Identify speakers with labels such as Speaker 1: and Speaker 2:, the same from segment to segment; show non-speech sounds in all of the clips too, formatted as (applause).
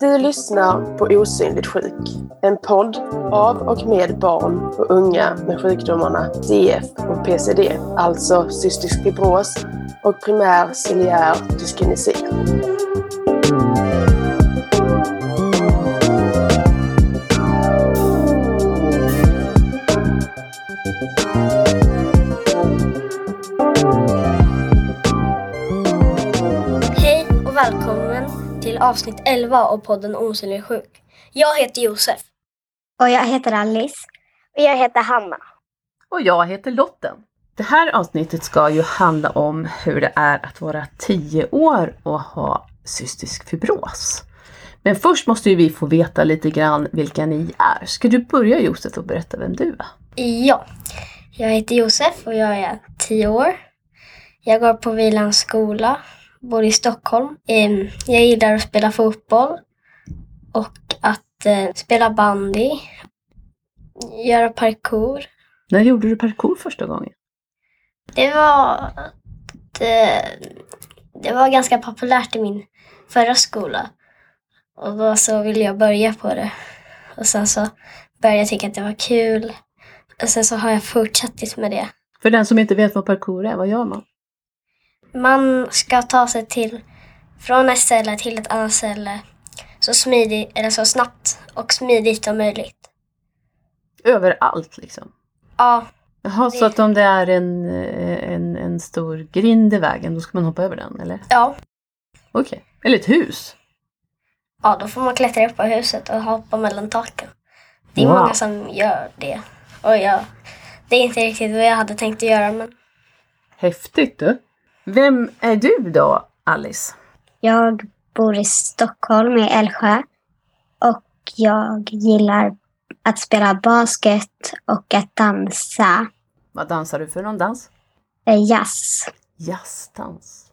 Speaker 1: Du lyssnar på Osynligt sjuk, en podd av och med barn och unga med sjukdomarna CF och PCD, alltså cystisk fibros och primär ciliär dyskinesi.
Speaker 2: Hej och välkommen till avsnitt 11 av podden Osynlig sjuk. Jag heter Josef.
Speaker 3: Och jag heter Alice.
Speaker 4: Och jag heter Hanna.
Speaker 5: Och jag heter Lotten. Det här avsnittet ska ju handla om hur det är att vara 10 år och ha cystisk fibros. Men först måste ju vi få veta lite grann vilka ni är. Ska du börja Josef och berätta vem du är?
Speaker 2: Ja, jag heter Josef och jag är 10 år. Jag går på Vilans skola, bor i Stockholm. Ehm, Jag gillar att spela fotboll och att eh, spela bandy, göra parkour.
Speaker 5: När gjorde du parkour första gången?
Speaker 2: Det var, det, det var ganska populärt i min förra skola. Och då så ville jag börja på det. Och sen så började jag tycka att det var kul. Och sen så har jag fortsatt med det.
Speaker 5: För den som inte vet vad parkour är, vad gör man?
Speaker 2: Man ska ta sig till, från ett ställe till ett annat ställe så, smidigt, eller så snabbt och smidigt som möjligt.
Speaker 5: Överallt liksom.
Speaker 2: Ja,
Speaker 5: Jaha, så att om det är en, eh, en, en stor grind i vägen, då ska man hoppa över den eller?
Speaker 2: ja.
Speaker 5: Okej. Eller ett hus.
Speaker 2: ja, då får man klättra upp på huset och hoppa mellan taken. Det är
Speaker 5: Wow.
Speaker 2: många som gör det. Och jag, det är inte riktigt vad jag hade tänkt att göra men
Speaker 5: Häftigt du. Vem är du då, Alice?
Speaker 3: Jag bor i Stockholm, i Älvsjö. Och jag gillar att spela basket och att dansa
Speaker 5: Vad dansar du för någon dans?
Speaker 3: eh, jazz.
Speaker 5: Jazzdans.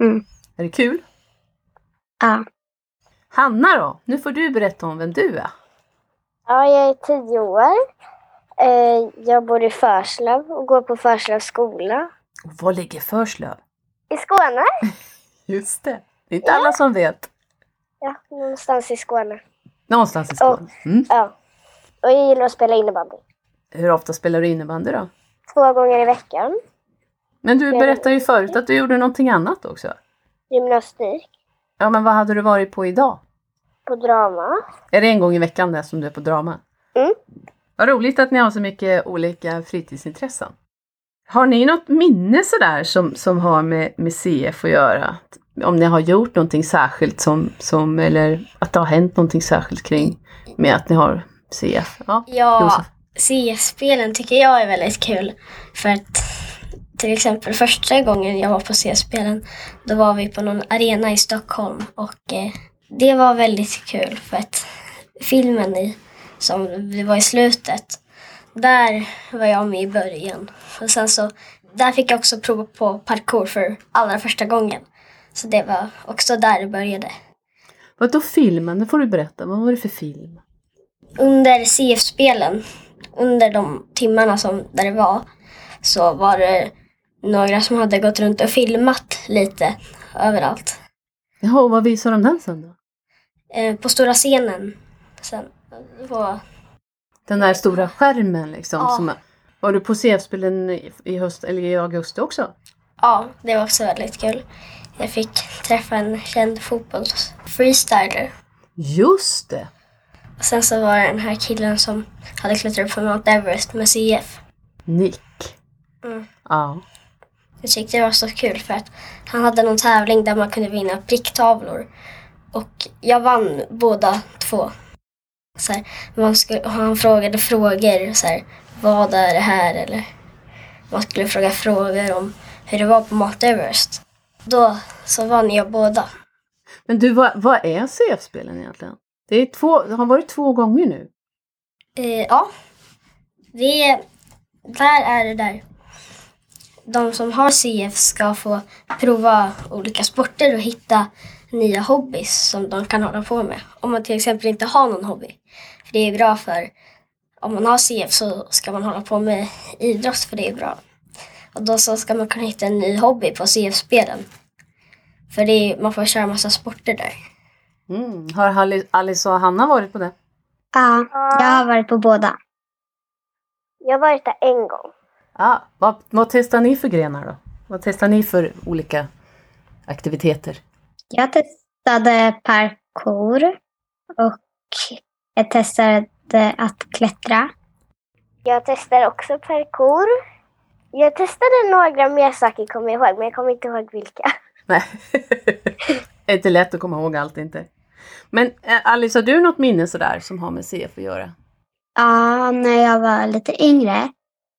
Speaker 3: Mm.
Speaker 5: Är det kul?
Speaker 3: Ja.
Speaker 5: Hanna då? Nu får du berätta om vem du är.
Speaker 4: Ja, jag är tio år. Eh, Jag bor i Förslöv och går på Förslövs skola
Speaker 5: Och var ligger Förslöv?
Speaker 4: i Skåne.
Speaker 5: Just det. Det är inte alla som vet.
Speaker 4: Ja, någonstans i Skåne.
Speaker 5: Någonstans i Skåne. Mm.
Speaker 4: Ja. Och jag gillar att spela innebandy.
Speaker 5: Hur ofta spelar du innebandy då?
Speaker 4: Två gånger i veckan.
Speaker 5: Men du berättade ju förut att du gjorde någonting annat också.
Speaker 4: Gymnastik
Speaker 5: Ja, men vad hade du varit på idag?
Speaker 4: på drama.
Speaker 5: Är det en gång i veckan där som du är på drama?
Speaker 4: Mm.
Speaker 5: Vad roligt att ni har så mycket olika fritidsintressen. Har ni något minne sådär som, som har med, med CF att göra? Om ni har gjort någonting särskilt som, som, eller att det har hänt någonting särskilt kring med att ni har CF? Ja.
Speaker 2: Ja,
Speaker 5: Josef.
Speaker 2: CS-spelen tycker jag är väldigt kul. För att till exempel första gången jag var på CS-spelen, då var vi på någon arena i Stockholm och eh, det var väldigt kul för att filmen i, som det var i slutet, där var jag med i början. Och sen så, där fick jag också prova på parkour för allra första gången. Så det var också där det började.
Speaker 5: Vadå filmen? Det får du berätta. Vad var det för film?
Speaker 2: under CF-spelen, under de timmarna som där det var, så var det några som hade gått runt och filmat lite överallt.
Speaker 5: Jaha, och vad visade de den sen då?
Speaker 2: Eh, på stora scenen. Sen, på,
Speaker 5: Den där stora skärmen liksom.
Speaker 2: Ja.
Speaker 5: Som, var du på CF-spelen i- i höst eller i augusti också?
Speaker 2: ja, det var också väldigt kul. Jag fick träffa en känd fotbolls-freestyler.
Speaker 5: Just det!
Speaker 2: Och Sen så var det den här killen som hade klättrat upp för Mount Everest med CF.
Speaker 5: Nick.
Speaker 2: Mm.
Speaker 5: Ja.
Speaker 2: Jag tyckte det var så kul för att han hade någon tävling där man kunde vinna pricktavlor. Och jag vann båda två. Så här, man skulle, och han frågade frågor. Så här, vad är det här? Eller man skulle fråga frågor om hur det var på Mount Everest. Då så vann jag båda.
Speaker 5: Men du, vad, vad är CF-spelen egentligen? Det, är två, det har varit två gånger nu.
Speaker 2: Eh, ja. Det är, där är det där. De som har CF ska få prova olika sporter och hitta nya hobbys som de kan hålla på med. Om man till exempel inte har någon hobby. För det är bra för om man har CF så ska man hålla på med idrott för det är bra. Och då så ska man kunna hitta en ny hobby på CF-spelen. För det är, man får köra massa sporter där.
Speaker 5: Mm. Har Halli- Alice och Hanna varit på det?
Speaker 3: Ja, jag har varit på båda.
Speaker 4: Jag har varit där en gång.
Speaker 5: Ja, vad, vad testar ni för grenar då? Vad testar ni för olika aktiviteter?
Speaker 3: Jag testade parkour och jag testade att klättra.
Speaker 4: Jag testar också parkour. Jag testade några mer saker kommer jag ihåg, men jag kommer inte ihåg vilka.
Speaker 5: Nej, (laughs) det är inte lätt att komma ihåg allt inte. Men eh, Alice, har du något minne sådär som har med CF att göra?
Speaker 3: Ja, när jag var lite yngre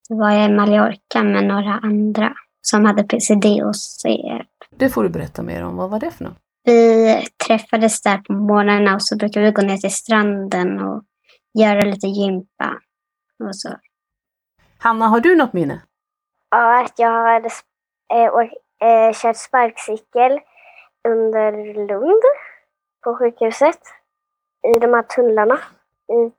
Speaker 3: så var jag i Mallorca med några andra som hade PCD och CF.
Speaker 5: Det får du berätta mer om. Vad var det för något?
Speaker 3: Vi träffades där på morgnarna och så brukade vi gå ner till stranden och göra lite gympa. Och så.
Speaker 5: Hanna, har du något minne?
Speaker 4: Ja, att jag hade sp- eh, och, eh, kört sparkcykel under Lund på sjukhuset. I de här tunnlarna. I,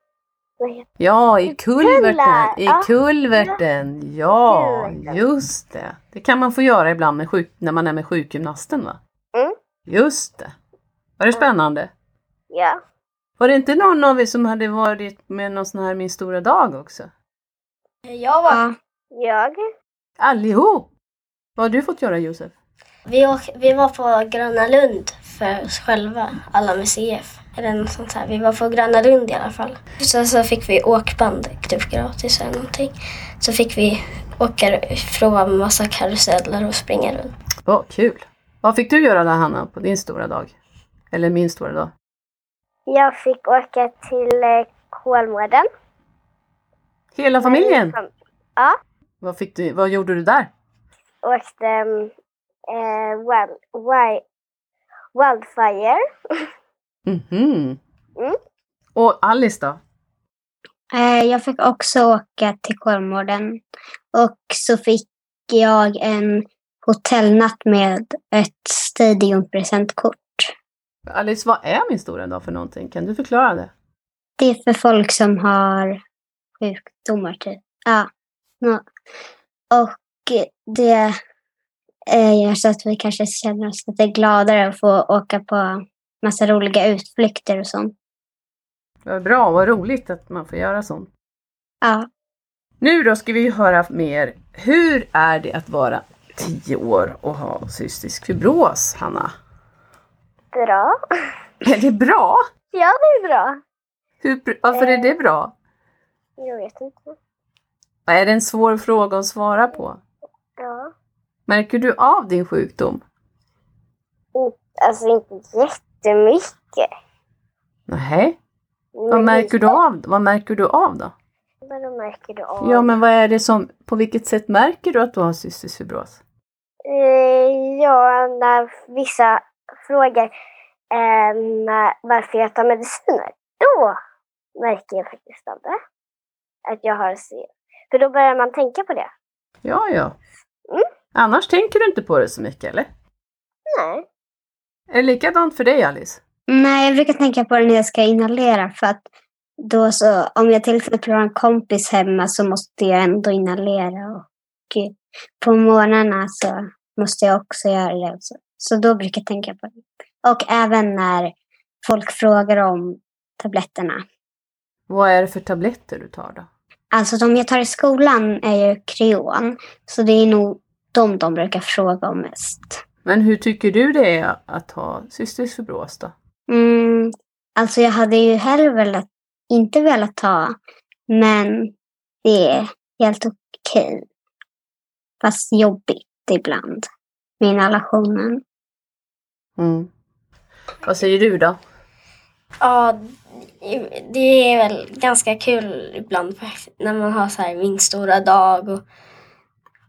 Speaker 4: vad heter
Speaker 5: Ja, i kulverten.
Speaker 4: Kullar,
Speaker 5: I
Speaker 4: ja.
Speaker 5: kulverten, ja,
Speaker 4: Kulverten.
Speaker 5: just det. Det kan man få göra ibland med sjuk, när man är med sjukgymnasten va?
Speaker 4: Mm.
Speaker 5: Just det. Var det spännande?
Speaker 4: ja.
Speaker 5: Var det inte någon av er som hade varit med någon sån här Min stora dag också?
Speaker 2: Jag var,
Speaker 3: Ja,
Speaker 4: Jag?
Speaker 5: Allihop! Vad har du fått göra Josef?
Speaker 2: vi, åk, vi var på Gröna Lund för oss själva, alla med CF. Eller något sånt här. Vi var på Gröna Lund i alla fall. Sen så fick vi åkband, typ gratis eller någonting. Så fick vi åka, prova med massa karuseller och springa runt.
Speaker 5: Vad kul! Vad fick du göra då Hanna på din stora dag? Eller min stora dag?
Speaker 4: Jag fick åka till eh, Kolmården.
Speaker 5: Hela familjen!
Speaker 4: Ja,
Speaker 5: Vad, fick du, vad gjorde du där?
Speaker 4: åkte mm, eh, wild, wi- Wildfire. (laughs)
Speaker 5: Mhm.
Speaker 4: Mm.
Speaker 5: Och Alice då?
Speaker 3: eh, jag fick också åka till Kolmården och så fick jag en hotellnatt med ett stadionpresentkort.
Speaker 5: Alice, vad är min stora dag för någonting? Kan du förklara det?
Speaker 3: Det är för folk som har sjukdomar, typ. Ja. Nå. Och det eh, gör så att vi kanske känner oss lite gladare och får åka på massa roliga utflykter och sånt.
Speaker 5: Vad bra, vad roligt att man får göra sånt.
Speaker 3: Ja.
Speaker 5: Nu då ska vi höra mer. Hur är det att vara 10 år och ha cystisk fibros, Hanna?
Speaker 4: Bra.
Speaker 5: Är det bra?
Speaker 4: Ja, det är bra.
Speaker 5: Hur, br- varför är det bra?
Speaker 4: Jag vet inte.
Speaker 5: Är det en svår fråga att svara på?
Speaker 4: Ja.
Speaker 5: Märker du av din sjukdom?
Speaker 4: Alltså inte jättemycket.
Speaker 5: Nej. Vad
Speaker 4: Men
Speaker 5: märker du av, vad märker du av då?
Speaker 4: Vadå märker du av?
Speaker 5: Ja, men vad är det som... På vilket sätt märker du att du har cystisk fibros?
Speaker 4: Eh, ja, när vissa frågar eh, när, varför jag tar mediciner. Då märker jag faktiskt av det. Att jag har C. För då börjar man tänka på det.
Speaker 5: Ja, ja.
Speaker 4: Mm.
Speaker 5: Annars tänker du inte på det så mycket, eller?
Speaker 4: Nej.
Speaker 5: Är det likadant för dig, Alice?
Speaker 3: Nej, jag brukar tänka på det när jag ska inhalera för att då så, om jag till exempel har en kompis hemma så måste jag ändå inhalera och eh, på morgnarna så måste jag också göra det. Så, så då brukar jag tänka på det. Och även när folk frågar om tabletterna.
Speaker 5: Vad är det för tabletter du tar då?
Speaker 3: Alltså de jag tar i skolan är ju kreon, så det är nog de de brukar fråga om mest.
Speaker 5: Men hur tycker du det är att ha cystisk fibros då?
Speaker 3: Mm, alltså jag hade ju hellre velat, inte velat ta, men det är helt okej. Fast jobbigt ibland med inhalationen.
Speaker 5: Mm. Vad säger du då?
Speaker 2: Ja, det är väl ganska kul ibland faktiskt, när man har så här min stora dag och,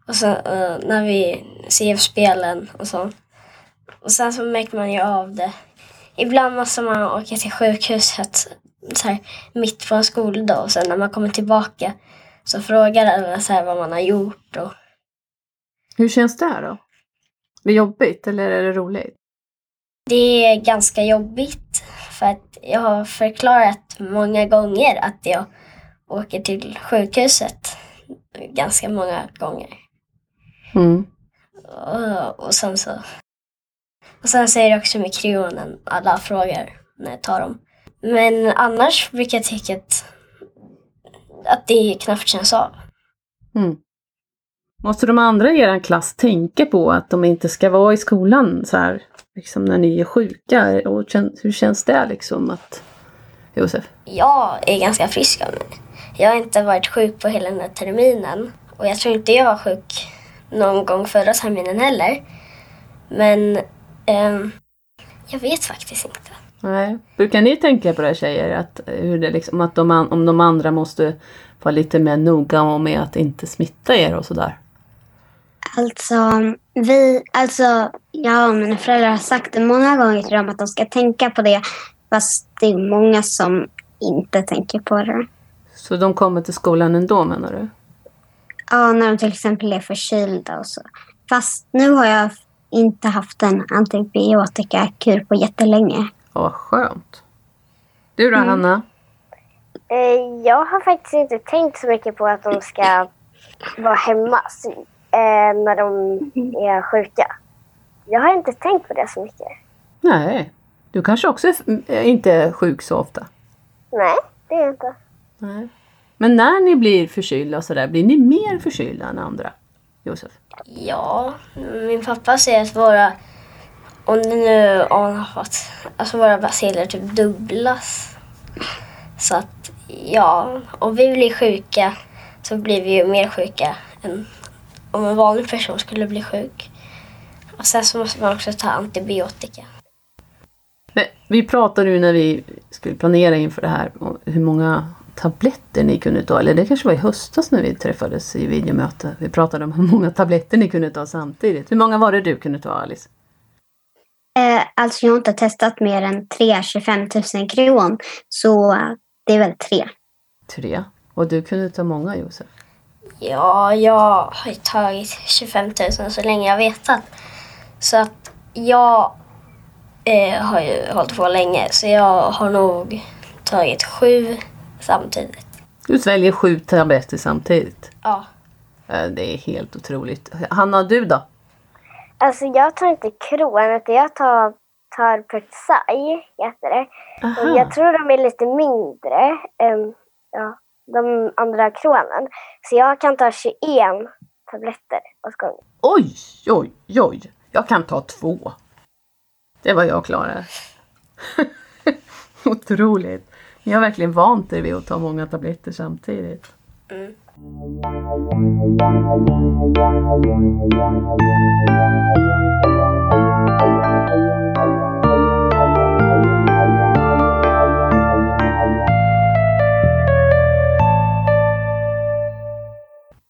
Speaker 2: och så, eh, när vi ser spelen och sånt. Och sen så märker man ju av det. Ibland måste man åka till sjukhuset så här, mitt på en skoldag och sen när man kommer tillbaka så frågar alla så här vad man har gjort. Och,
Speaker 5: Hur känns det här då? Är det jobbigt eller är det roligt?
Speaker 2: Det är ganska jobbigt för att jag har förklarat många gånger att jag åker till sjukhuset ganska många gånger.
Speaker 5: Mm.
Speaker 2: Och, och sen så... Och sen så är det också med kreonen, alla frågar när jag tar dem. Men annars brukar jag tycka att, att det knappt känns av.
Speaker 5: Mm. Måste de andra i er klass tänka på att de inte ska vara i skolan så här, liksom när ni är sjuka? Och kän- hur känns det liksom att... Josef?
Speaker 2: Jag är ganska frisk av mig. Jag har inte varit sjuk på hela den här terminen. Och jag tror inte jag var sjuk någon gång förra terminen heller. Men ehm, jag vet faktiskt inte.
Speaker 5: Nej. Brukar ni tänka på det här, tjejer? Att, hur det liksom, att de, an- om de andra måste vara lite mer noga och med att inte smitta er och sådär?
Speaker 3: Alltså, vi, alltså, jag och mina föräldrar har sagt det många gånger till dem att de ska tänka på det. Fast det är många som inte tänker på det.
Speaker 5: Så de kommer till skolan ändå menar du?
Speaker 3: Ja, när de till exempel är förkylda och så. Fast nu har jag inte haft en antibiotikakur på jättelänge.
Speaker 5: Ja, vad skönt. Du då Hanna?
Speaker 4: Eh, Jag har faktiskt inte tänkt så mycket på att de ska vara hemma s- eh, när de är sjuka. Jag har inte tänkt på det så mycket.
Speaker 5: Nej. Du kanske också är f- är inte är sjuk så ofta?
Speaker 4: Nej, det är jag inte.
Speaker 5: Nej. Men när ni blir förkylda och sådär, blir ni mer förkylda än andra? Josef?
Speaker 2: Ja, min pappa säger att våra, om det nu om han har fått, alltså våra baciller typ dubblas. Så att ja, om vi blir sjuka så blir vi ju mer sjuka än om en vanlig person skulle bli sjuk. Och sen så måste man också ta antibiotika.
Speaker 5: Men vi pratade ju när vi skulle planera inför det här om hur många tabletter ni kunde ta. Eller det kanske var i höstas när vi träffades i videomöte. Vi pratade om hur många tabletter ni kunde ta samtidigt. Hur många var det du kunde ta Alice?
Speaker 3: Eh, alltså, jag har inte testat mer än 3 25 000 kron. Så eh, det är väl tre.
Speaker 5: Tre. Och du kunde ta många Josef?
Speaker 2: Ja, jag har ju tagit 25 000 så länge jag vetat. Så att jag eh, har ju hållit på länge så jag har nog tagit sju samtidigt.
Speaker 5: Du sväljer sju tabletter samtidigt.
Speaker 2: Ja.
Speaker 5: Eh, Det är helt otroligt. Hanna, du då?
Speaker 4: Alltså jag tar inte kron utan jag tar, tar Pertsai, heter det. Och jag tror de är lite mindre, um, ja, de andra kronen. Så jag kan ta 21 tabletter åt gången.
Speaker 5: Oj, oj, oj. Jag kan ta två. Det var jag klarar. (laughs) Otroligt. Ni har verkligen vant er vid att ta många tabletter samtidigt.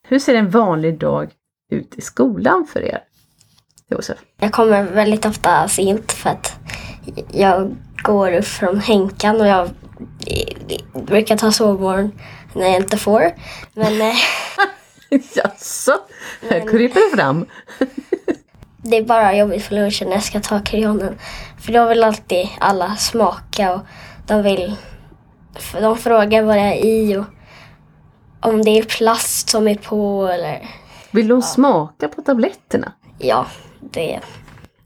Speaker 5: Hur ser en vanlig dag ut i skolan för er? Josef? (laughs)
Speaker 2: Jag kommer väldigt ofta sent för att jag går upp från hänkan och jag eh, brukar ta sovmorgon när jag inte får. Men eh, (laughs)
Speaker 5: Jaså? Här kryper det fram.
Speaker 2: Det är bara jobbigt för lunchen när jag ska ta kreonen. För då vill alltid alla smaka och de vill... för De frågar vad det är i och om det är plast som är på eller...
Speaker 5: Vill de smaka på tabletterna?
Speaker 2: Ja, det...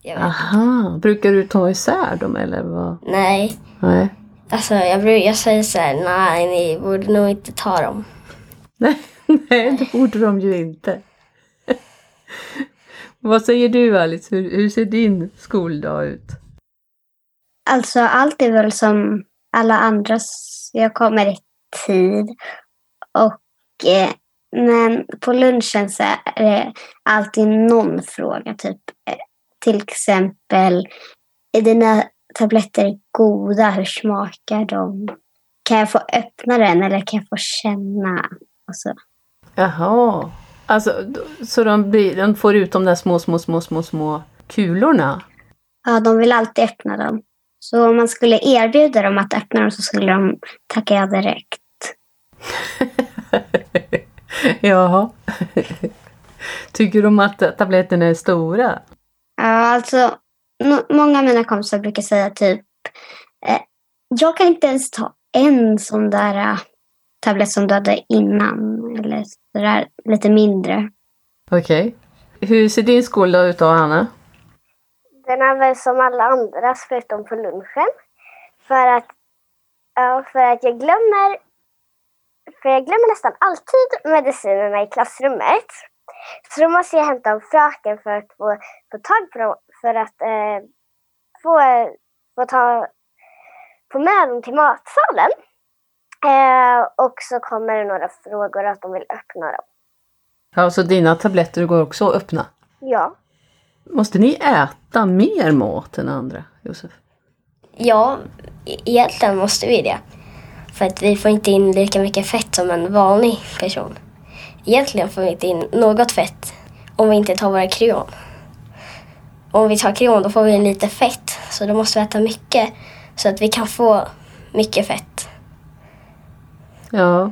Speaker 2: Jag vet.
Speaker 5: Aha, brukar du ta isär dem eller vad?
Speaker 2: Nej.
Speaker 5: Nej.
Speaker 2: Alltså jag, brukar, jag säger så här, nej ni borde nog inte ta dem.
Speaker 5: Nej, (laughs) nej det borde de ju inte. (laughs) vad säger du Alice, hur, hur ser din skoldag ut?
Speaker 3: Alltså allt är väl som alla andras. Jag kommer i tid. Och, eh, men på lunchen så är det alltid någon fråga. Typ, eh, till exempel, är dina tabletter goda? Hur smakar de? Kan jag få öppna den eller kan jag få känna? Och så.
Speaker 5: Jaha. Alltså, d- så de, blir, de får ut de där små, små, små, små, små kulorna?
Speaker 3: Ja, de vill alltid öppna dem. Så om man skulle erbjuda dem att öppna dem så skulle de tacka ja direkt.
Speaker 5: (laughs) Jaha. (laughs) Tycker de att tabletterna är stora?
Speaker 3: Ja, alltså no- många av mina kompisar brukar säga typ eh, jag kan inte ens ta en sån där eh, tablett som du hade innan. Eller sådär, lite mindre.
Speaker 5: Okej. Hur ser din skoldag ut då, Anna?
Speaker 4: Den är väl som alla andras förutom på lunchen. För att, ja, för att jag glömmer för jag glömmer nästan alltid medicinerna i klassrummet. Så då måste jag hämta en fröken för att få, få tag på dem, för att eh, få, få, ta, få med dem till matsalen. Eh, och så kommer det några frågor att de vill öppna dem.
Speaker 5: Ja, så dina tabletter går också att öppna.
Speaker 4: Ja.
Speaker 5: Måste ni äta mer mat än andra, Josef?
Speaker 2: Ja, e- egentligen måste vi det. För att vi får inte in lika mycket fett som en vanlig person. Egentligen får vi inte in något fett om vi inte tar våra kreon. Om vi tar kreon då får vi in lite fett, så då måste vi äta mycket så att vi kan få mycket fett.
Speaker 5: Ja.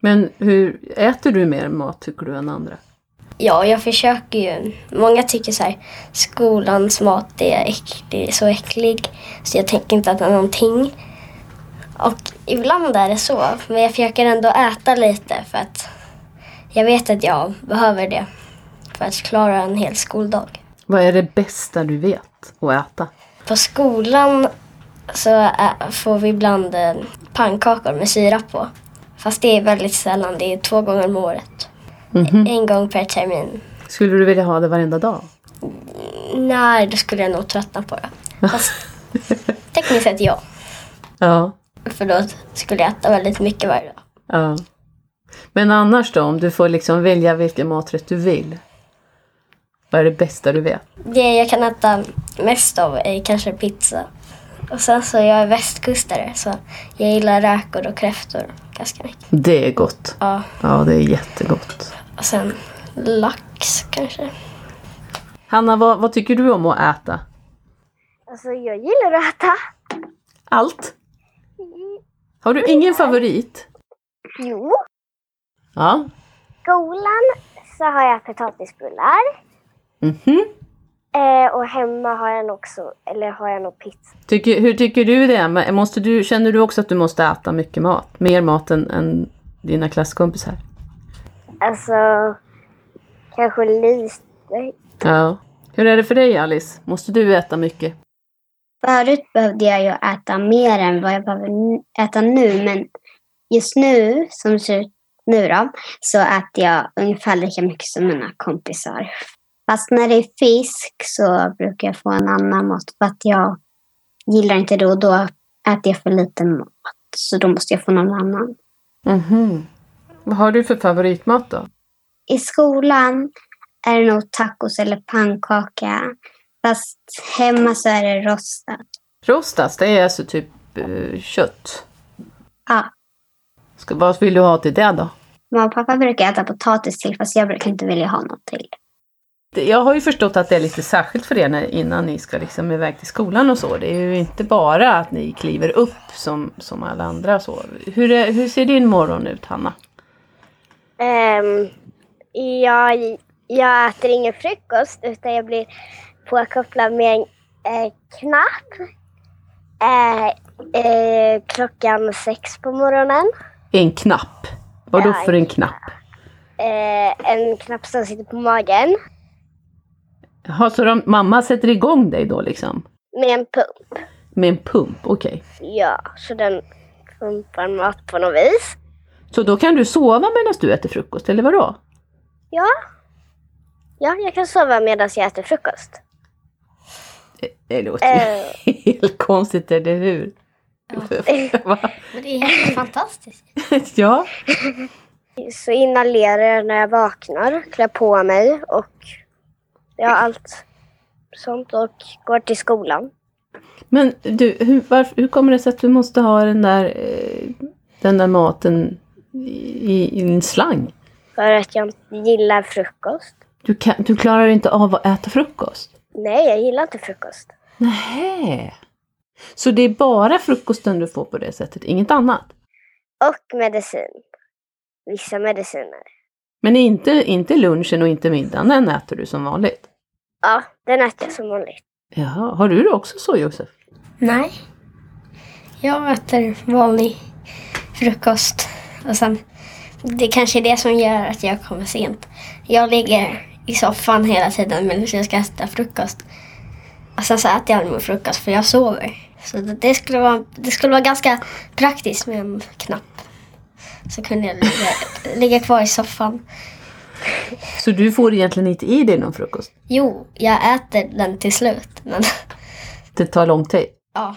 Speaker 5: Men hur äter du mer mat tycker du än andra?
Speaker 2: Ja, jag försöker ju. Många tycker så här, skolans mat det är, äck, det är så äcklig så jag tänker inte äta någonting. Och ibland är det så, men jag försöker ändå äta lite för att jag vet att jag behöver det för att klara en hel skoldag.
Speaker 5: Vad är det bästa du vet att äta?
Speaker 2: På skolan så ä- får vi ibland eh, pannkakor med sirap på. Fast det är väldigt sällan, det är två gånger om året.
Speaker 5: Mhm.
Speaker 2: En gång per termin.
Speaker 5: Skulle du vilja ha det varenda dag?
Speaker 2: Nej, då skulle jag nog tröttna på det. Fast tekniskt sett ja.
Speaker 5: Ja.
Speaker 2: För då skulle jag äta väldigt mycket varje dag.
Speaker 5: ja. Men annars då, om du får liksom välja vilken maträtt du vill? Vad är det bästa du vet?
Speaker 2: Det jag kan äta mest av är kanske pizza. Och sen så jag är västkustare så jag gillar räkor och kräftor ganska mycket.
Speaker 5: Det är gott.
Speaker 2: Ja,
Speaker 5: Ja, det är jättegott.
Speaker 2: och sen lax kanske.
Speaker 5: Hanna, vad, vad tycker du om att äta?
Speaker 4: Alltså jag gillar att äta.
Speaker 5: Allt? Har du ingen favorit?
Speaker 4: Jo.
Speaker 5: Ja.
Speaker 4: skolan så har jag potatisbullar.
Speaker 5: Mhm.
Speaker 4: Eh, och hemma har jag nog också, eller har jag nog pizza.
Speaker 5: Tycker, hur tycker du det? Men Måste du, känner du också att du måste äta mycket mat? Mer mat än, än dina klasskompisar?
Speaker 4: Alltså, kanske lite.
Speaker 5: Ja. Hur är det för dig Alice? Måste du äta mycket?
Speaker 3: Förut behövde jag ju äta mer än vad jag behöver n- äta nu. Men just nu, som det ser ut nu då, så äter jag ungefär lika mycket som mina kompisar. Fast när det är fisk så brukar jag få en annan mat. För att jag gillar inte det och då äter jag för lite mat. Så då måste jag få någon annan.
Speaker 5: Mhm. Vad har du för favoritmat då?
Speaker 3: I skolan är det nog tacos eller pannkaka. Fast hemma så är det rostat.
Speaker 5: Rostas, det är alltså typ eh, kött.
Speaker 3: Ja,
Speaker 5: Ska, vad vill du ha till det då?
Speaker 3: mamma och pappa brukar äta potatis till fast jag brukar inte vilja ha något till.
Speaker 5: Det- Jag har ju förstått att det är lite särskilt för er när, innan ni ska liksom iväg till skolan och så. Det är ju inte bara att ni kliver upp som, som alla andra så. Hur, är, hur ser din morgon ut Hanna?
Speaker 4: Ehm, jag, jag äter ingen frukost utan jag blir påkopplad med en eh, knapp. Eh, eh, klockan sex på morgonen.
Speaker 5: En knapp. Vadå
Speaker 4: Ja,
Speaker 5: för en knapp?
Speaker 4: Eh, en knapp som sitter på magen
Speaker 5: Jaha, så de, mamma sätter igång dig då liksom?
Speaker 4: med en pump.
Speaker 5: Med en pump, okej.
Speaker 4: Ja, så den pumpar mat på något vis.
Speaker 5: Så då kan du sova medan du äter frukost, eller vadå?
Speaker 4: Ja. Ja, jag kan sova medan jag äter frukost.
Speaker 5: Eh,
Speaker 4: Eh,
Speaker 5: Det låter ju (laughs) helt konstigt, eller hur? Va?
Speaker 2: Men det är helt fantastiskt.
Speaker 5: (laughs) ja,
Speaker 4: Så inhalerar jag när jag vaknar, klär på mig och ja, allt sånt och går till skolan.
Speaker 5: men du, hur, varför, hur kommer det sig att du måste ha den där, eh, den där maten i, i en slang?
Speaker 4: För att jag inte gillar frukost.
Speaker 5: Du, kan, du klarar inte av att äta frukost?
Speaker 4: Nej, jag gillar inte frukost.
Speaker 5: Nej. Så det är bara frukosten du får på det sättet, inget annat?
Speaker 4: Och medicin. Vissa mediciner.
Speaker 5: Men inte, inte lunchen och inte middagen, den äter du som vanligt?
Speaker 4: Ja, den äter jag som vanligt.
Speaker 5: Jaha, har du det också så Josef?
Speaker 2: Nej. Jag äter vanlig frukost Och sen, det kanske är det som gör att jag kommer sent. Jag ligger i soffan hela tiden medan jag ska äta frukost. Och sen så äter jag aldrig min frukost för jag sover. Så det, det, skulle vara, det skulle vara ganska praktiskt med en knapp. Så kunde jag ligga, ligga kvar i soffan.
Speaker 5: Så du får egentligen inte i dig någon frukost?
Speaker 2: Jo, jag äter den till slut. Men (laughs)
Speaker 5: Det tar lång tid.
Speaker 2: ja,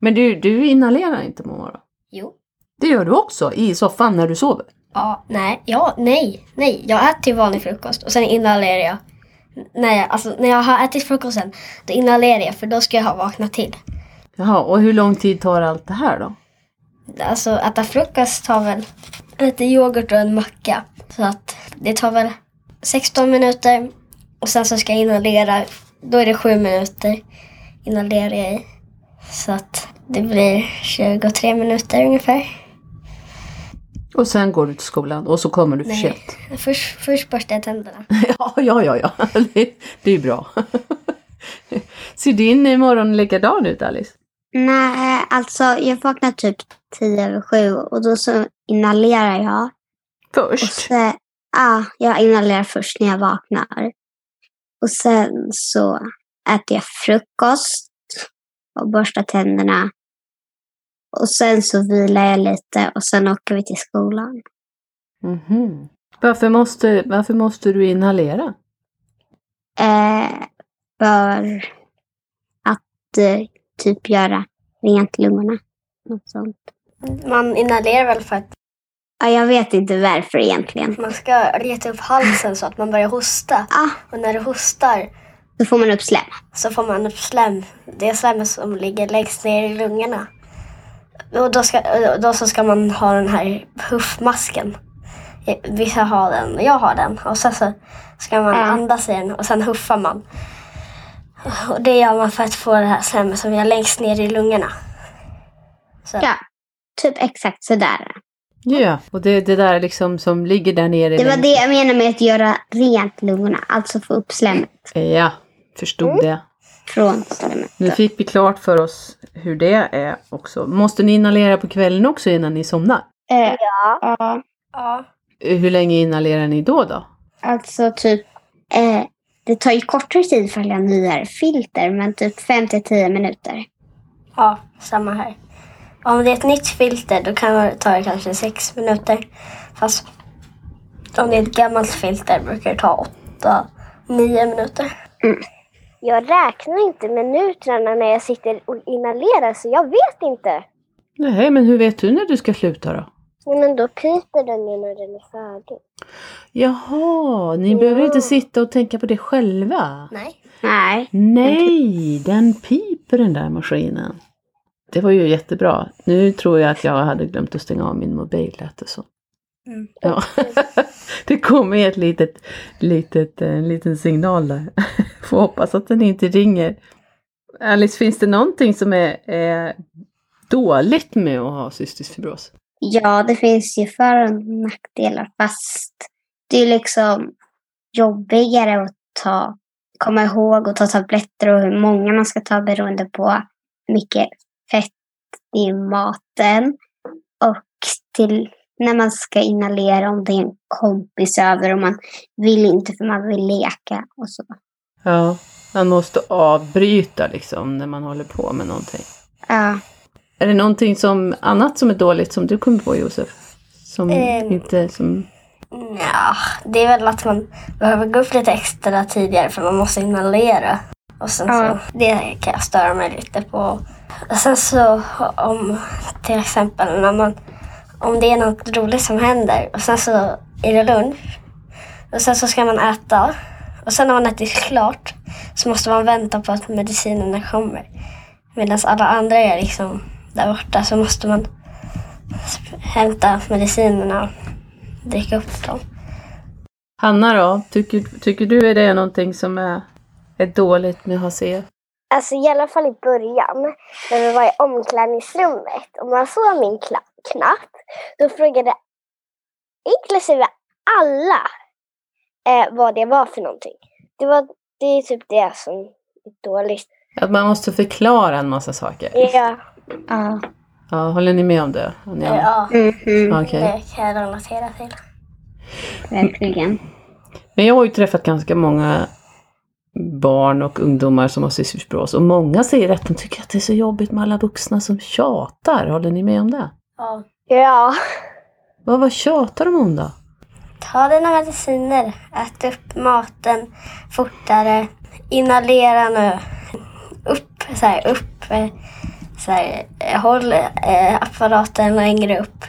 Speaker 5: Men du, du inhalerar inte Moa då?
Speaker 2: jo.
Speaker 5: Det gör du också i soffan när du sover?
Speaker 2: Ja, nej, ja, nej, nej. Jag äter ju vanlig frukost och sen inhalerar jag. Nej, alltså när jag har ätit frukosten, då inhalerar jag för då ska jag ha vaknat till.
Speaker 5: Jaha, och hur lång tid tar allt det här då?
Speaker 2: Alltså äta frukost tar väl lite yoghurt och en macka. Så att det tar väl 16 minuter och sen så ska jag inhalera. Då är det 7 minuter inhalerar jag i. Så att det blir 23 minuter ungefär.
Speaker 5: Och sen går du till skolan och så kommer du för
Speaker 2: Nej.
Speaker 5: sent.
Speaker 2: Först, först borstar jag tänderna.
Speaker 5: (laughs) Ja, ja, ja, (laughs) ja. Det, det är bra. (laughs) Ser din eh, morgon likadan ut Alice?
Speaker 3: Nej, alltså jag vaknar typ tio över sju och då så inhalerar jag. Och
Speaker 5: Först?
Speaker 3: sen, ja, jag inhalerar först när jag vaknar. Och sen så äter jag frukost och borstar tänderna. Och sen så vilar jag lite och sen åker vi till skolan.
Speaker 5: Mhm. Varför, måste, varför måste du inhalera?
Speaker 3: Eh, för att eh, typ göra rent lungorna. Något sånt.
Speaker 2: Man inhalerar väl för att
Speaker 3: Ja, jag vet inte varför egentligen.
Speaker 2: man ska reta upp halsen så att man börjar hosta.
Speaker 3: Ah,
Speaker 2: Och när du hostar
Speaker 3: då får man upp slem.
Speaker 2: så får man upp slem. Det är slem som ligger längst ner i lungorna. Och då, ska, och då så ska man ha den här puffmasken. Vissa har den och jag har den. Och sen så ska man
Speaker 3: Ja.
Speaker 2: andas i den och sen huffar man. Och det gör man för att få det här slemmet som är längst ner i lungorna. Så,
Speaker 3: Ja. Typ exakt sådär.
Speaker 5: Ja, och det, det där liksom som ligger där nere.
Speaker 3: Det var
Speaker 5: längst-
Speaker 3: det jag menade med att göra rent lungorna. Alltså få upp slemmet
Speaker 5: Ja, förstod det.
Speaker 3: från slemmet.
Speaker 5: Nu fick vi klart för oss hur det är också. Måste ni inhalera på kvällen också innan ni somnar? Eh,
Speaker 3: Eh,
Speaker 4: Ja.
Speaker 3: ja,
Speaker 2: ja.
Speaker 5: Hur länge inhalerar ni då då?
Speaker 3: alltså typ. Eh, det tar ju kortare tid för jag nyare filter, men typ 5-10 minuter.
Speaker 2: ja, samma här. Om det är ett nytt filter då kan det ta kanske sex minuter. Fast om det är ett gammalt filter brukar det ta åtta, nio minuter.
Speaker 4: Jag räknar inte minuterna när jag sitter och inhalerar så jag vet inte.
Speaker 5: Nej, men hur vet du när du ska sluta då?
Speaker 4: Nej, men då piper den ju när den är färdig.
Speaker 5: Jaha, ni behöver inte sitta och tänka på det själva.
Speaker 2: Nej.
Speaker 3: Nej.
Speaker 5: Nej, den piper den där maskinen. Det var ju jättebra. Nu tror jag att jag hade glömt att stänga av min mobil, lät det som.
Speaker 2: Mm.
Speaker 5: Ja. (laughs) Det kom med ett litet, litet, eh, en liten signal där. (laughs) Får hoppas att den inte ringer. Alice, finns det någonting som är, är dåligt med att ha cystisk fibros?
Speaker 3: Ja, det finns ju för och nackdelar, fast det är liksom jobbigare att ta, komma ihåg och ta tabletter och hur många man ska ta beroende på hur mycket fett det är i maten. Och till när man ska inhalera om det är en kompis över och man vill inte för man vill leka och så.
Speaker 5: Ja, man måste avbryta liksom när man håller på med någonting.
Speaker 3: Ja,
Speaker 5: Är det någonting som, annat som är dåligt som du kommer på Josef? Som
Speaker 2: Ehm.
Speaker 5: inte som...
Speaker 2: Ja, det är väl att man behöver gå upp lite extra tidigare för man måste inhalera. Och sen
Speaker 3: Ja.
Speaker 2: så, det kan jag störa mig lite på. Och sen så om till exempel när man, om det är något roligt som händer och sen så är det lunch. Och sen så ska man äta. Och sen när man ätit klart så måste man vänta på att medicinerna kommer. Medan alla andra är liksom där borta så måste man hämta medicinerna och dricka upp dem.
Speaker 5: Hanna då, tycker, tycker du är det någonting som är, är dåligt med HCF?
Speaker 4: Alltså i alla fall i början, när vi var i omklädningsrummet och man såg min kla- knapp, då frågade inklusive alla eh, vad det var för någonting. Det, var, det är typ det som är dåligt. Ehm.
Speaker 5: Att man måste förklara en massa saker.
Speaker 4: Ja,
Speaker 3: ja.
Speaker 5: Ja, håller ni med om det?
Speaker 2: Ja,
Speaker 5: Ja.
Speaker 2: ja
Speaker 3: Mhm,
Speaker 5: Okej.
Speaker 2: det kan jag relatera till.
Speaker 3: verkligen.
Speaker 5: Men jag har ju träffat ganska många barn och ungdomar som har cysfibros och många säger att de tycker att det är så jobbigt med alla vuxna som tjatar. Håller ni med om det?
Speaker 2: Ja.
Speaker 4: Ja.
Speaker 5: Vad, vad tjatar de om då?
Speaker 2: Ta dina mediciner, ät upp maten fortare, inhalera nu. Upp, så här, upp. eh, Så här, eh, håll eh, apparaten längre upp.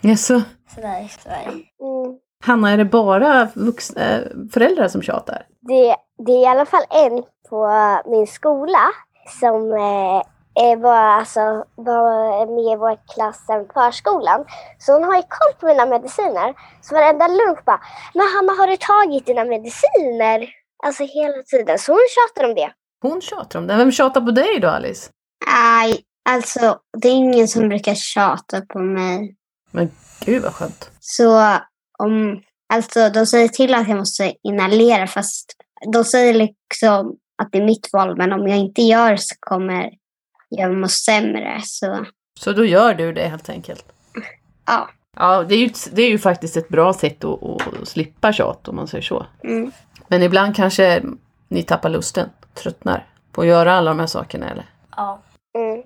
Speaker 5: Jaså?
Speaker 2: Så där, så där.
Speaker 4: Mm.
Speaker 5: Hanna, är det bara vuxna, eh, föräldrar som tjatar?
Speaker 4: Det, det är i alla fall en på eh, min skola som eh, är bara, alltså, var med i vår klass sen förskolan. Så hon har ju koll på mina mediciner. Så varenda lunch bara “Men Hanna, har du tagit dina mediciner?” Alltså hela tiden. Så hon tjatar om det.
Speaker 5: Hon tjatar om det. Vem tjatar på dig då, Alice?
Speaker 3: Nej, alltså det är ingen som brukar tjata på mig.
Speaker 5: Gud vad skönt.
Speaker 3: Så om, alltså de säger till att jag måste inhalera fast de säger liksom att det är mitt val men om jag inte gör så kommer jag må sämre. Så
Speaker 5: Så då gör du det helt enkelt?
Speaker 3: Ja.
Speaker 5: Ja, det är ju, det är ju faktiskt ett bra sätt att, att slippa tjat om man säger så.
Speaker 3: mm.
Speaker 5: Men ibland kanske ni tappar lusten, tröttnar på att göra alla de här sakerna eller?
Speaker 2: Ja.
Speaker 4: Mm.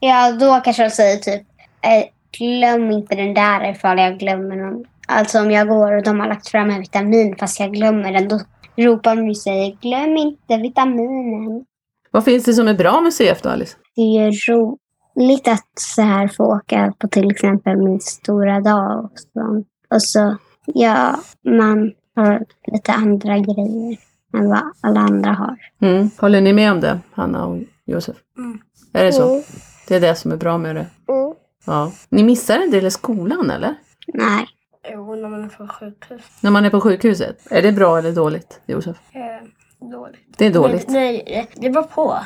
Speaker 3: ja, då kanske de säger typ eh, glöm inte den där ifall jag glömmer någon. Alltså om jag går och de har lagt fram en vitamin fast jag glömmer den då ropar de och säger glöm inte vitaminen.
Speaker 5: Vad finns det som är bra med CF då Alice?
Speaker 3: det är ju roligt att så här få åka på till exempel min stora dag och sånt. Och så, ja, man har lite andra grejer än vad alla andra har.
Speaker 5: Mm. Håller ni med om det, Hanna och Josef?
Speaker 2: Mm.
Speaker 5: Är det så?
Speaker 4: Mm.
Speaker 5: Det är det som är bra med det?
Speaker 4: Mm.
Speaker 5: Ja. Ni missar en del i skolan eller?
Speaker 3: Nej.
Speaker 2: Jo, när man är på sjukhus.
Speaker 5: När man är på sjukhuset? Är det bra eller dåligt, Josef?
Speaker 2: Eh, dåligt.
Speaker 5: Det är dåligt.
Speaker 2: Nej, nej, det beror på.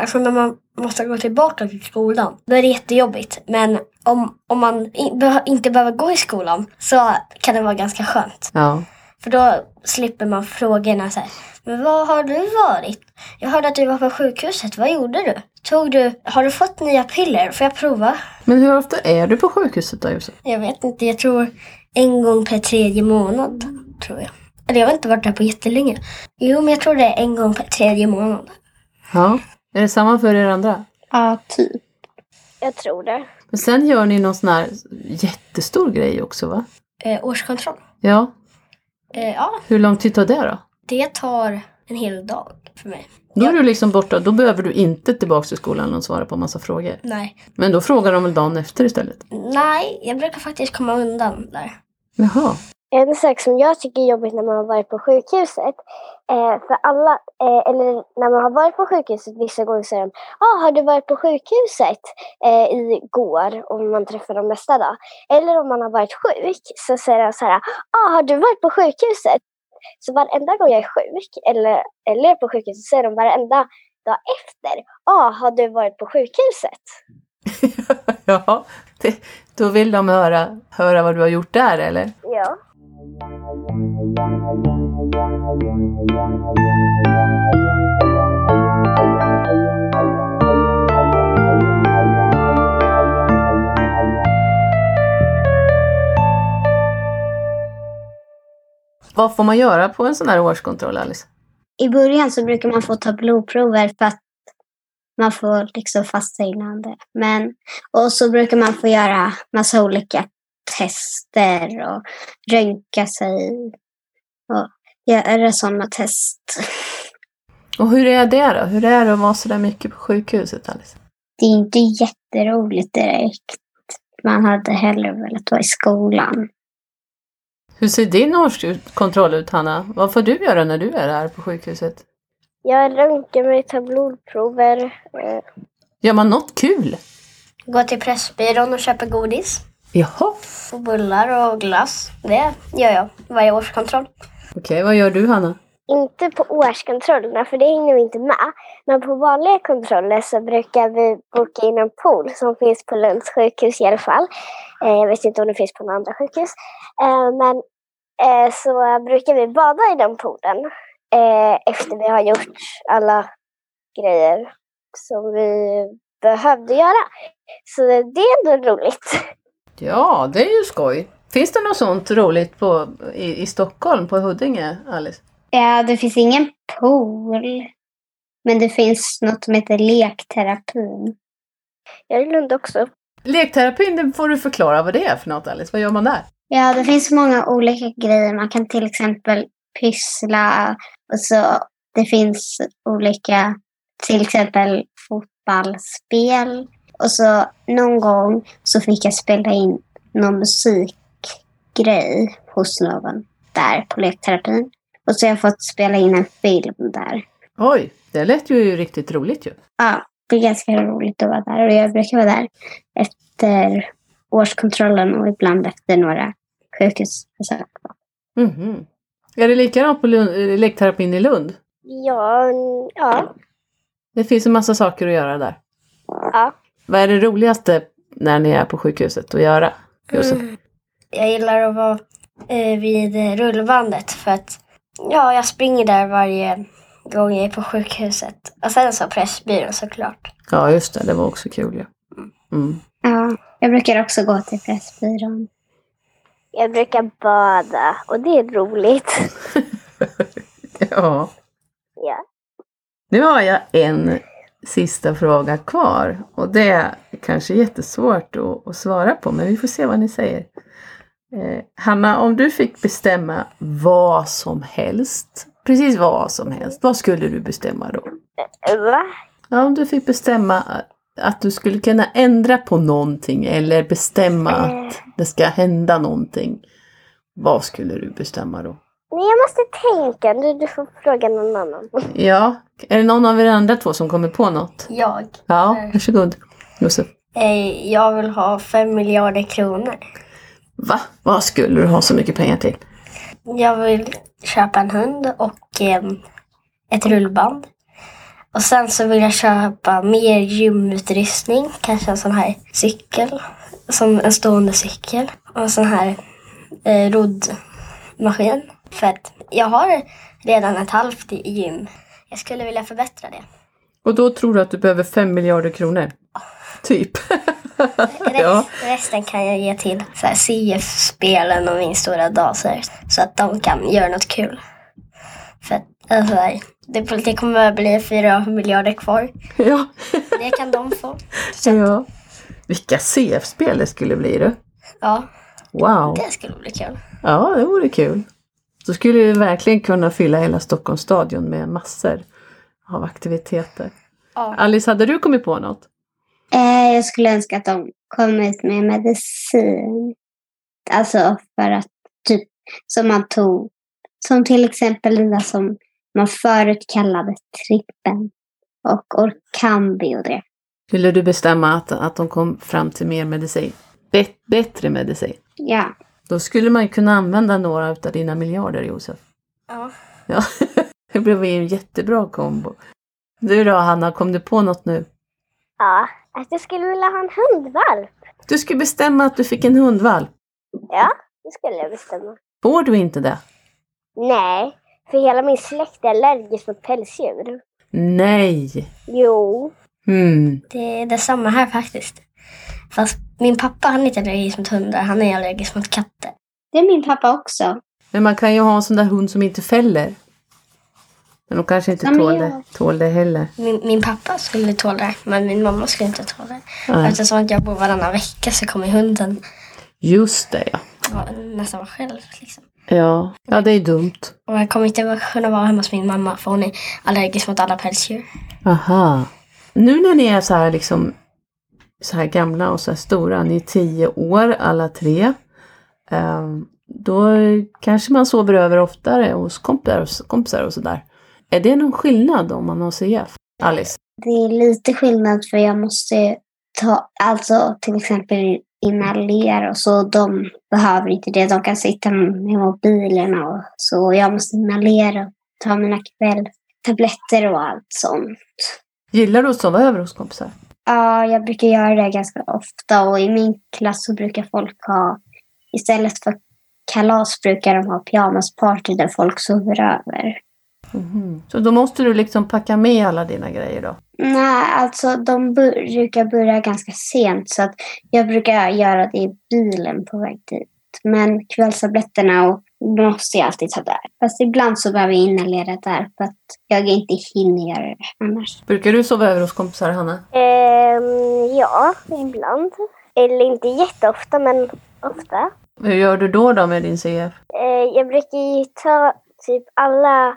Speaker 2: Alltså när man måste gå tillbaka till skolan, då är det jättejobbigt. Men om, om man i- beh- inte behöver gå i skolan så kan det vara ganska skönt.
Speaker 5: Ja.
Speaker 2: För då slipper man frågorna så här. Men vad har du varit? Jag hörde att du var på sjukhuset. Vad gjorde du? Tog du, har du fått nya piller? Får jag prova?
Speaker 5: Men hur ofta är du på sjukhuset då, Josef?
Speaker 2: Jag vet inte, jag tror en gång per tredje månad. Tror jag. Eller jag har inte varit där på jättelänge. Jo, men jag tror det är en gång per tredje månad.
Speaker 5: Ja. Är det samma för er andra?
Speaker 3: Ja, typ.
Speaker 4: Jag tror det.
Speaker 5: Men sen gör ni någon sån här jättestor grej också, va?
Speaker 2: Eh, årskontroll.
Speaker 5: Ja.
Speaker 2: Eh, ja,
Speaker 5: Hur lång tid tar det då?
Speaker 2: det tar en hel dag för mig.
Speaker 5: Då är
Speaker 2: Ja.
Speaker 5: du liksom borta, då behöver du inte tillbaka till skolan och svara på massa frågor.
Speaker 2: Nej.
Speaker 5: Men då frågar de väl dagen efter istället?
Speaker 2: Nej, jag brukar faktiskt komma undan där.
Speaker 5: (laughs) Jaha.
Speaker 4: En sak som jag tycker är jobbigt när man har varit på sjukhuset, eh, för alla, eh, eller när man har varit på sjukhuset, vissa gånger säger de ah, har du varit på sjukhuset eh, igår?” om man träffar dem nästa dag. Eller om man har varit sjuk så säger de så här ah, “har du varit på sjukhuset?” Så varenda gång jag är sjuk eller, eller på sjukhuset säger de varenda dag efter ah, “har du varit på sjukhuset?”
Speaker 5: Jaha. Det, då vill de höra, höra vad du har gjort där eller?
Speaker 4: Ja.
Speaker 5: Vad får man göra på en sån här årskontroll Alice?
Speaker 3: I början så brukar man få ta blodprover för att man får liksom fasta innan det. Men, och så brukar man få göra massa olika tester och röntga sig och göra sådana test.
Speaker 5: Och hur är det då? Hur är det att vara så där mycket på sjukhuset Alice?
Speaker 3: Det är inte jätteroligt direkt. Man hade hellre velat vara i skolan.
Speaker 5: Hur ser din årskontroll ut Hanna? Vad får du göra när du är här på sjukhuset?
Speaker 4: Jag röntgar mig, tar blodprover. Eh,
Speaker 5: Gör man något kul?
Speaker 2: Gå till Pressbyrån och köpa godis.
Speaker 5: Jaha.
Speaker 2: Och bullar och glass. Det gör jag varje årskontroll.
Speaker 5: Okej, vad gör du Hanna?
Speaker 4: Inte på årskontrollerna, för det hinner vi inte med. Men på vanliga kontroller så brukar vi boka in en pool som finns på Lunds sjukhus i alla fall. Eh, jag vet inte om det finns på några andra sjukhus. Eh, men eh, så brukar vi bada i den poolen eh, efter vi har gjort alla grejer som vi behövde göra. Så det är ändå roligt.
Speaker 5: Ja, det är ju skoj. Finns det något sånt roligt på, i, i Stockholm, på Huddinge, Alice?
Speaker 3: Ja, det finns ingen pool. Men det finns något som heter lekterapin.
Speaker 4: Jag är i Lund också.
Speaker 5: Lekterapin, det får du förklara vad det är för något, Alice. Vad gör man där?
Speaker 3: Ja, det finns många olika grejer. Man kan till exempel pyssla och så det finns olika, till exempel fotbollsspel. Och så någon gång så fick jag spela in någon musikgrej hos någon där på lekterapin. Och så har jag fått spela in en film där.
Speaker 5: Oj, det lät ju riktigt roligt ju.
Speaker 3: Ja, det är ganska roligt att vara där och jag brukar vara där efter årskontrollen och ibland efter några Alltså, sjukhusbesök.
Speaker 5: Mhm. Är det likadant på Lund, eh, lekterapin i Lund?
Speaker 4: Ja, mm, ja,
Speaker 5: Det finns en massa saker att göra där.
Speaker 4: Ja.
Speaker 5: Vad är det roligaste när ni är på sjukhuset att göra? Josef?
Speaker 2: Jag gillar att vara eh, vid eh, rullbandet för att ja, jag springer där varje gång jag är på sjukhuset. Och sen så Pressbyrån såklart.
Speaker 5: Ja, just det. Det var också kul ju. Mm.
Speaker 3: Ja, jag brukar också gå till Pressbyrån.
Speaker 4: jag brukar bada och det är roligt.
Speaker 5: (laughs) Ja.
Speaker 4: Ja.
Speaker 5: Nu har jag en sista fråga kvar och det är kanske jättesvårt att, att svara på men vi får se vad ni säger. Eh, Hanna, om du fick bestämma vad som helst, precis vad som helst, vad skulle du bestämma då?
Speaker 4: Va?
Speaker 5: Ja, om du fick bestämma att du skulle kunna ändra på någonting eller bestämma att det ska hända någonting, vad skulle du bestämma då?
Speaker 4: Nej, jag måste tänka. Du, du får fråga någon annan.
Speaker 5: Ja, är det någon av er andra två som kommer på något?
Speaker 2: Jag.
Speaker 5: Ja,
Speaker 2: Nej.
Speaker 5: varsågod. Josef.
Speaker 2: Eh, jag vill ha fem miljarder kronor.
Speaker 5: Va? Vad skulle du ha så mycket pengar till?
Speaker 2: Jag vill köpa en hund och eh, ett rullband. Och sen så vill jag köpa mer gymutrustning. Kanske en sån här cykel. Som en stående cykel. Och en sån här eh, roddmaskin. För att jag har redan ett halvt i- gym. Jag skulle vilja förbättra det.
Speaker 5: Och då tror du att du behöver 5 miljarder kronor? Typ.
Speaker 2: Rest,
Speaker 5: (laughs) Ja.
Speaker 2: Resten kan jag ge till så här CF-spelen och min stora dag så, här, så att de kan göra något kul. För att, alltså, det, det kommer att bli fyra miljarder kvar.
Speaker 5: ja.
Speaker 2: Det kan de få.
Speaker 5: ja. Vilka CF-spel det skulle bli du.
Speaker 2: Ja,
Speaker 5: Wow.
Speaker 2: det skulle bli kul.
Speaker 5: Ja, det vore kul. Då skulle vi verkligen kunna fylla hela Stockholms stadion med massor av aktiviteter.
Speaker 2: Ja.
Speaker 5: Alice, hade du kommit på något?
Speaker 3: Eh, jag skulle önska att de kom ut med medicin. Alltså för att typ som man tog. Som till exempel den där som man förut kallade trippen. Och Orkambi och det.
Speaker 5: Skulle du bestämma att, att de kom fram till mer medicin? Bet- bättre medicin?
Speaker 3: Ja.
Speaker 5: Då skulle man kunna använda några av dina miljarder, Josef.
Speaker 2: Ja.
Speaker 5: Ja, (laughs) det blev ju en jättebra kombo. Du då Hanna, kom du på något nu?
Speaker 4: Ja, att jag skulle vilja ha en hundvalp.
Speaker 5: Du skulle bestämma att du fick en hundvalp.
Speaker 4: Det skulle jag bestämma.
Speaker 5: Får du inte det?
Speaker 4: Nej, för hela min släkt är allergisk mot pälsdjur.
Speaker 5: Nej!
Speaker 4: Jo.
Speaker 5: Hmm.
Speaker 2: Det, det är samma här faktiskt. Fast min pappa han är inte allergisk mot hundar, han är allergisk mot katter.
Speaker 3: Det är min pappa också.
Speaker 5: Men man kan ju ha en sån där hund som inte fäller. Men de kanske inte
Speaker 3: Ja, men
Speaker 5: tål,
Speaker 3: jag-
Speaker 5: det, tål det heller.
Speaker 2: Min, min pappa skulle tåla det, men min mamma skulle inte tåla det.
Speaker 5: Nej.
Speaker 2: Eftersom att jag bor varannan vecka så kommer hunden
Speaker 5: Just det ja.
Speaker 2: vara- nästan vara själv. Liksom.
Speaker 5: ja. Ja, det är dumt.
Speaker 2: Och jag kommer inte kunna vara hemma hos min mamma för hon är allergisk mot alla pälsdjur.
Speaker 5: Aha. Nu när ni är så här liksom så här gamla och så här stora, ni är tio år alla tre. ehm, Då kanske man sover över oftare hos kompisar och, kompisar och sådär. Är det någon skillnad om man har CF? Alice?
Speaker 3: Det är lite skillnad för jag måste ju ta, alltså till exempel inhalera och så. De behöver inte det. De kan sitta med mobilerna och så. Jag måste inhalera och ta mina kvälltabletter och allt sånt.
Speaker 5: Gillar du att sova över hos kompisar?
Speaker 3: Ja, jag brukar göra det ganska ofta och i min klass så brukar folk ha, istället för kalas brukar de ha pyjamasparty där folk sover över.
Speaker 5: Mhm. Så då måste du liksom packa med alla dina grejer då?
Speaker 3: Nej, alltså de bör- brukar börja ganska sent så att jag brukar göra det i bilen på väg dit. Men kvällstabletterna och måste jag alltid ta där. Fast ibland så behöver jag inhalera där för att jag inte hinner göra det annars.
Speaker 5: Brukar du sova över hos kompisar, Hanna?
Speaker 4: Ehm, ja, ibland. Eller inte jätteofta, men ofta.
Speaker 5: Hur gör du då, då med din CF?
Speaker 4: Eh, jag brukar ju ta typ alla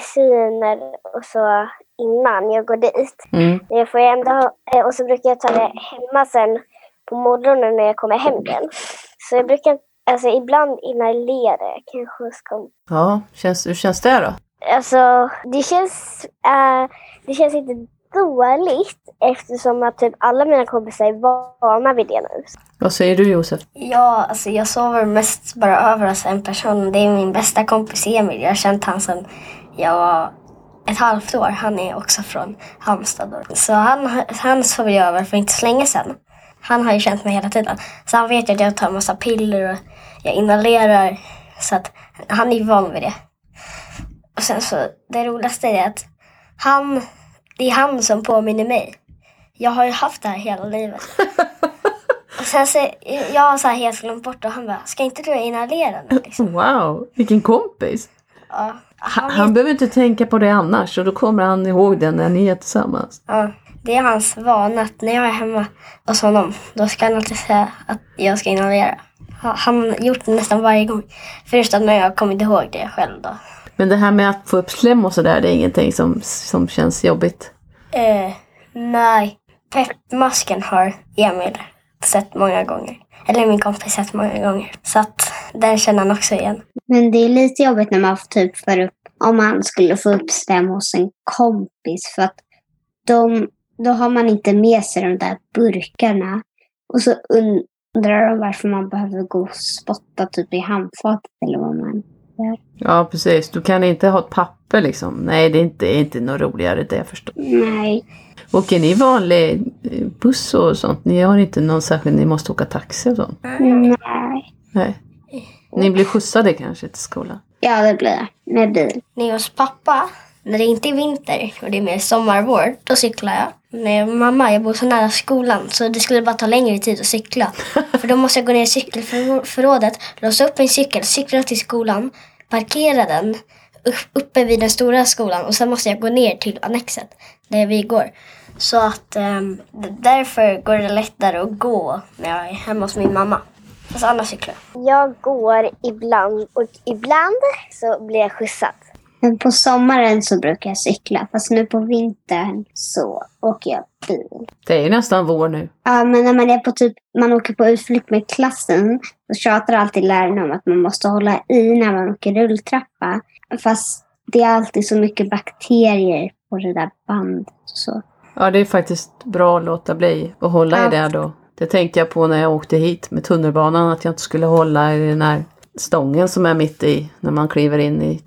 Speaker 4: mediciner och så innan jag går dit.
Speaker 5: Mm.
Speaker 4: Men Jag får ju ändå, ha- eh, och så brukar jag ta det hemma sen på morgonen när jag kommer hem igen. Så jag brukar, alltså ibland inhalera jag kanske hos kom-
Speaker 5: Ja, känns, hur känns det då?
Speaker 4: Alltså, det känns, eh, det känns inte dåligt eftersom att typ alla mina kompisar är vana vid det nu.
Speaker 5: Vad säger du, Josef?
Speaker 2: Ja, alltså jag sover mest bara över hos en person. Det är min bästa kompis Emil. Jag har känt han sedan jag var ett halvt år. Han är också från Halmstad. då. Så han, han sov jag över för inte så länge sedan. Han har ju känt mig hela tiden. Så han vet ju att jag tar en massa piller och jag inhalerar. Så att han är ju van vid det. Och sen så, det roligaste är att han, det är han som påminner mig. Jag har ju haft det här hela livet. Och sen så, jag har så här helt glömt bort och han bara, ska inte du inhalera nu? Liksom.
Speaker 5: Wow, vilken kompis!
Speaker 2: Ja,
Speaker 5: Han,
Speaker 2: han
Speaker 5: han
Speaker 2: vet,
Speaker 5: behöver inte tänka på det annars och då kommer han ihåg det när ni är tillsammans.
Speaker 2: ja, det är hans vana att när jag är hemma hos honom, då ska han alltid säga att jag ska inhalera. Ha- Han har gjort det nästan varje gång. Förutom när jag har kommit ihåg det själv då.
Speaker 5: Men det här med att få upp slem och sådär, det är ingenting som, som känns jobbigt.
Speaker 2: Eh, nej, peppmasken har Emil sett många gånger. Eller min kompis sett många gånger. Så att den känner han också igen.
Speaker 3: Men det är lite jobbigt när man får typ för upp, om man skulle få upp slem hos en kompis för att de, då har man inte med sig de där burkarna. Och så undrar de varför man behöver gå och spotta typ i handfatet eller vad man...
Speaker 5: Ja, precis. Du kan inte ha ett papper liksom. Nej, det är inte, det är inte något roligare det jag förstår.
Speaker 3: Nej,
Speaker 5: Åker ni vanlig eh, buss och sånt? Ni har inte någon särskild, ni måste åka taxi och sånt?
Speaker 3: nej.
Speaker 5: Nej. Ni blir skjutsade kanske till skolan?
Speaker 3: Ja, det blir jag. Med bil.
Speaker 2: När hos pappa, när det inte är vinter och det är mer sommarvår, då cyklar jag. När jag och mamma, jag bor så nära skolan så det skulle bara ta längre tid att cykla. För då måste jag gå ner i cykelförrådet, låsa upp min cykel, cykla till skolan, parkera den upp- uppe vid den stora skolan och sen måste jag gå ner till Annexet där vi går. Så att ehm, d- därför går det lättare att gå när jag är hemma hos min mamma. Fast annars cyklar jag.
Speaker 4: Jag går ibland och ibland så blir jag skjutsad.
Speaker 3: Men på sommaren så brukar jag cykla, fast nu på vintern så åker jag bil.
Speaker 5: Det är ju nästan vår nu.
Speaker 3: Ja, men när man är på typ, man åker på utflykt med klassen så tjatar alltid lärarna om att man måste hålla i när man åker rulltrappa. Fast det är alltid så mycket bakterier på det där bandet och så.
Speaker 5: Ja, det är faktiskt bra att låta bli och hålla i
Speaker 3: Ja.
Speaker 5: det då. Det tänkte jag på när jag åkte hit med tunnelbanan, att jag inte skulle hålla i den här stången som är mitt i när man kliver in i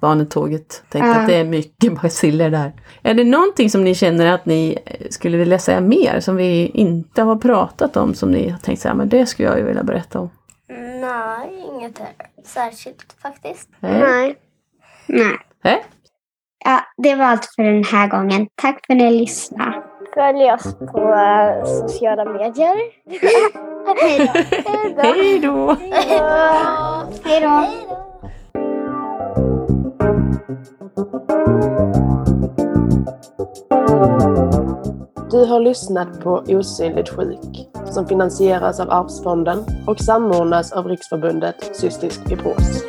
Speaker 5: tunnelbanetåget. Tänkte
Speaker 3: Ja.
Speaker 5: att det är mycket baciller där. Är det någonting som ni känner att ni eh, skulle vilja säga mer som vi inte har pratat om som ni har tänkt så här, men det skulle jag ju vilja berätta om?
Speaker 2: Nej, inget särskilt faktiskt.
Speaker 5: Nej.
Speaker 3: Nej.
Speaker 5: Nej.
Speaker 3: Ja, det var allt för den här gången. Tack för att ni lyssnade.
Speaker 4: Följ oss på eh, sociala medier. Hej då.
Speaker 5: Hej då!
Speaker 4: Hej då.
Speaker 3: Hej då!
Speaker 1: Du har lyssnat på Osynligt sjuk som finansieras av Arvsfonden och samordnas av Riksförbundet Cystisk fibros.